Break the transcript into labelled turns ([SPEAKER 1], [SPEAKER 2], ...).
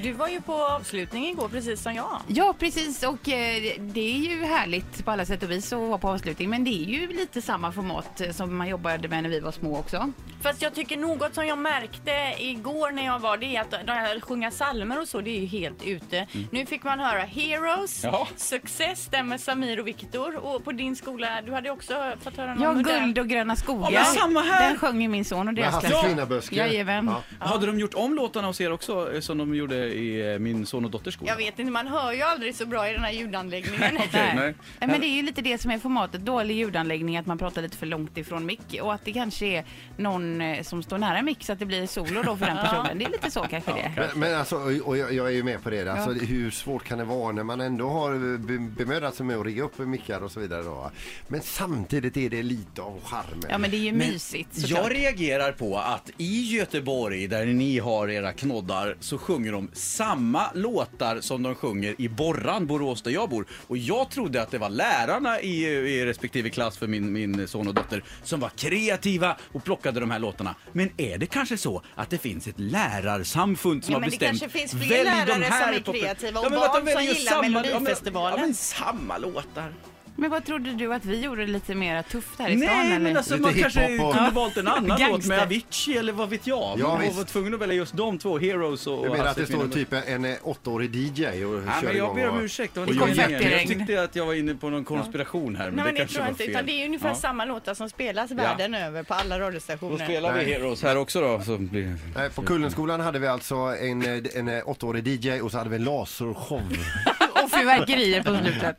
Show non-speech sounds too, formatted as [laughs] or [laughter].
[SPEAKER 1] Du var ju på avslutning igår precis som jag.
[SPEAKER 2] Ja, precis. Och eh, det är ju härligt på alla sätt och vis att vara på avslutning. Men det är ju lite samma format eh, som man jobbade med när vi var små också.
[SPEAKER 1] Fast jag tycker något som jag märkte igår när jag var det är att de här sjunga salmer och så det är ju helt ute. Nu fick man höra Heroes, Success där med Samir och Viktor och på din skola, du hade också fått höra någon
[SPEAKER 2] Ja,
[SPEAKER 1] modern-
[SPEAKER 2] guld och gröna skogar.
[SPEAKER 3] Ja, men samma här.
[SPEAKER 2] Den sjöng ju min son och deras
[SPEAKER 4] Hasse Kvinnaböske.
[SPEAKER 2] Jajamän.
[SPEAKER 4] Ja.
[SPEAKER 3] Hade de gjort om låtarna hos er också eh, som de gjorde i eh, min son och dotters skola?
[SPEAKER 1] Jag vet inte, man hör ju aldrig så bra i den här ljudanläggningen.
[SPEAKER 3] Okej, nej.
[SPEAKER 2] [laughs] Nej, Men det är ju lite det som är formatet. Dålig ljudanläggning, att man pratar lite för långt ifrån mick och att det kanske är någon eh, som står nära mick så att det blir solo då
[SPEAKER 3] [laughs]
[SPEAKER 2] för den personen. Det är lite så kanske det är.
[SPEAKER 4] Men, men alltså, och- och jag, jag är ju med på det. Alltså, Hur svårt kan det vara när man ändå har be, bemödat sig med att rigga upp mickar och så vidare. Då. Men samtidigt är det lite av charmen.
[SPEAKER 2] Ja, men det är ju
[SPEAKER 5] Men
[SPEAKER 2] mysigt såklart.
[SPEAKER 5] Jag reagerar på att i Göteborg, där ni har era knoddar, så sjunger de samma låtar som de sjunger i Borran, Borås, där jag bor. Och jag trodde att det var lärarna i, i respektive klass för min, min son och dotter som var kreativa och plockade de här låtarna. Men är det kanske så att det finns ett lärarsamfund som
[SPEAKER 1] Ja,
[SPEAKER 5] har
[SPEAKER 1] men det
[SPEAKER 5] bestämt...
[SPEAKER 1] kanske finns
[SPEAKER 5] "Välj
[SPEAKER 1] fler
[SPEAKER 5] de
[SPEAKER 1] lärare
[SPEAKER 5] här
[SPEAKER 1] som är
[SPEAKER 5] popul-"
[SPEAKER 1] kreativa och
[SPEAKER 5] men att de
[SPEAKER 1] barn som
[SPEAKER 5] väljer
[SPEAKER 1] gillar Melodifestivalen.
[SPEAKER 5] Ja, men, ja, men samma låtar.
[SPEAKER 2] Men vad trodde du att vi gjorde lite mer tufft här i stan?
[SPEAKER 5] Nej, men
[SPEAKER 2] eller?
[SPEAKER 5] alltså
[SPEAKER 4] Lite
[SPEAKER 5] man kanske
[SPEAKER 4] hiphop och-
[SPEAKER 5] kunde valt en annan låt
[SPEAKER 2] Gangster.
[SPEAKER 5] med Avicii eller vad vet jag. Man
[SPEAKER 4] Ja,
[SPEAKER 5] var
[SPEAKER 4] visst.
[SPEAKER 5] var tvungen att välja just de två, Heroes och
[SPEAKER 4] Du menar
[SPEAKER 5] Hasse
[SPEAKER 4] att det står
[SPEAKER 5] Kvinnan.
[SPEAKER 4] typ en eh, åttaårig DJ och
[SPEAKER 5] Nej,
[SPEAKER 4] kör
[SPEAKER 5] men jag
[SPEAKER 4] igång?
[SPEAKER 5] ber om
[SPEAKER 4] och-
[SPEAKER 5] ursäkt, det var
[SPEAKER 4] och
[SPEAKER 5] lite
[SPEAKER 4] gör-
[SPEAKER 2] konfetti.
[SPEAKER 5] gängen. Jag
[SPEAKER 2] regn.
[SPEAKER 5] tyckte att jag var inne på någon konspiration här, men det
[SPEAKER 1] Nej men det
[SPEAKER 5] kanske
[SPEAKER 1] tror jag
[SPEAKER 5] var
[SPEAKER 1] inte,
[SPEAKER 5] fel.
[SPEAKER 1] utan det är ungefär
[SPEAKER 5] Ja.
[SPEAKER 1] samma låtar som spelas världen över på alla
[SPEAKER 5] Då
[SPEAKER 1] radiostationer.
[SPEAKER 5] spelar vi Heroes här också då. Så blir...
[SPEAKER 4] Nej, på Kullenskolan hade vi alltså en, eh, en eh, åttaårig DJ och så hade vi en lasershow.
[SPEAKER 2] Och fyrverkerier på slutet.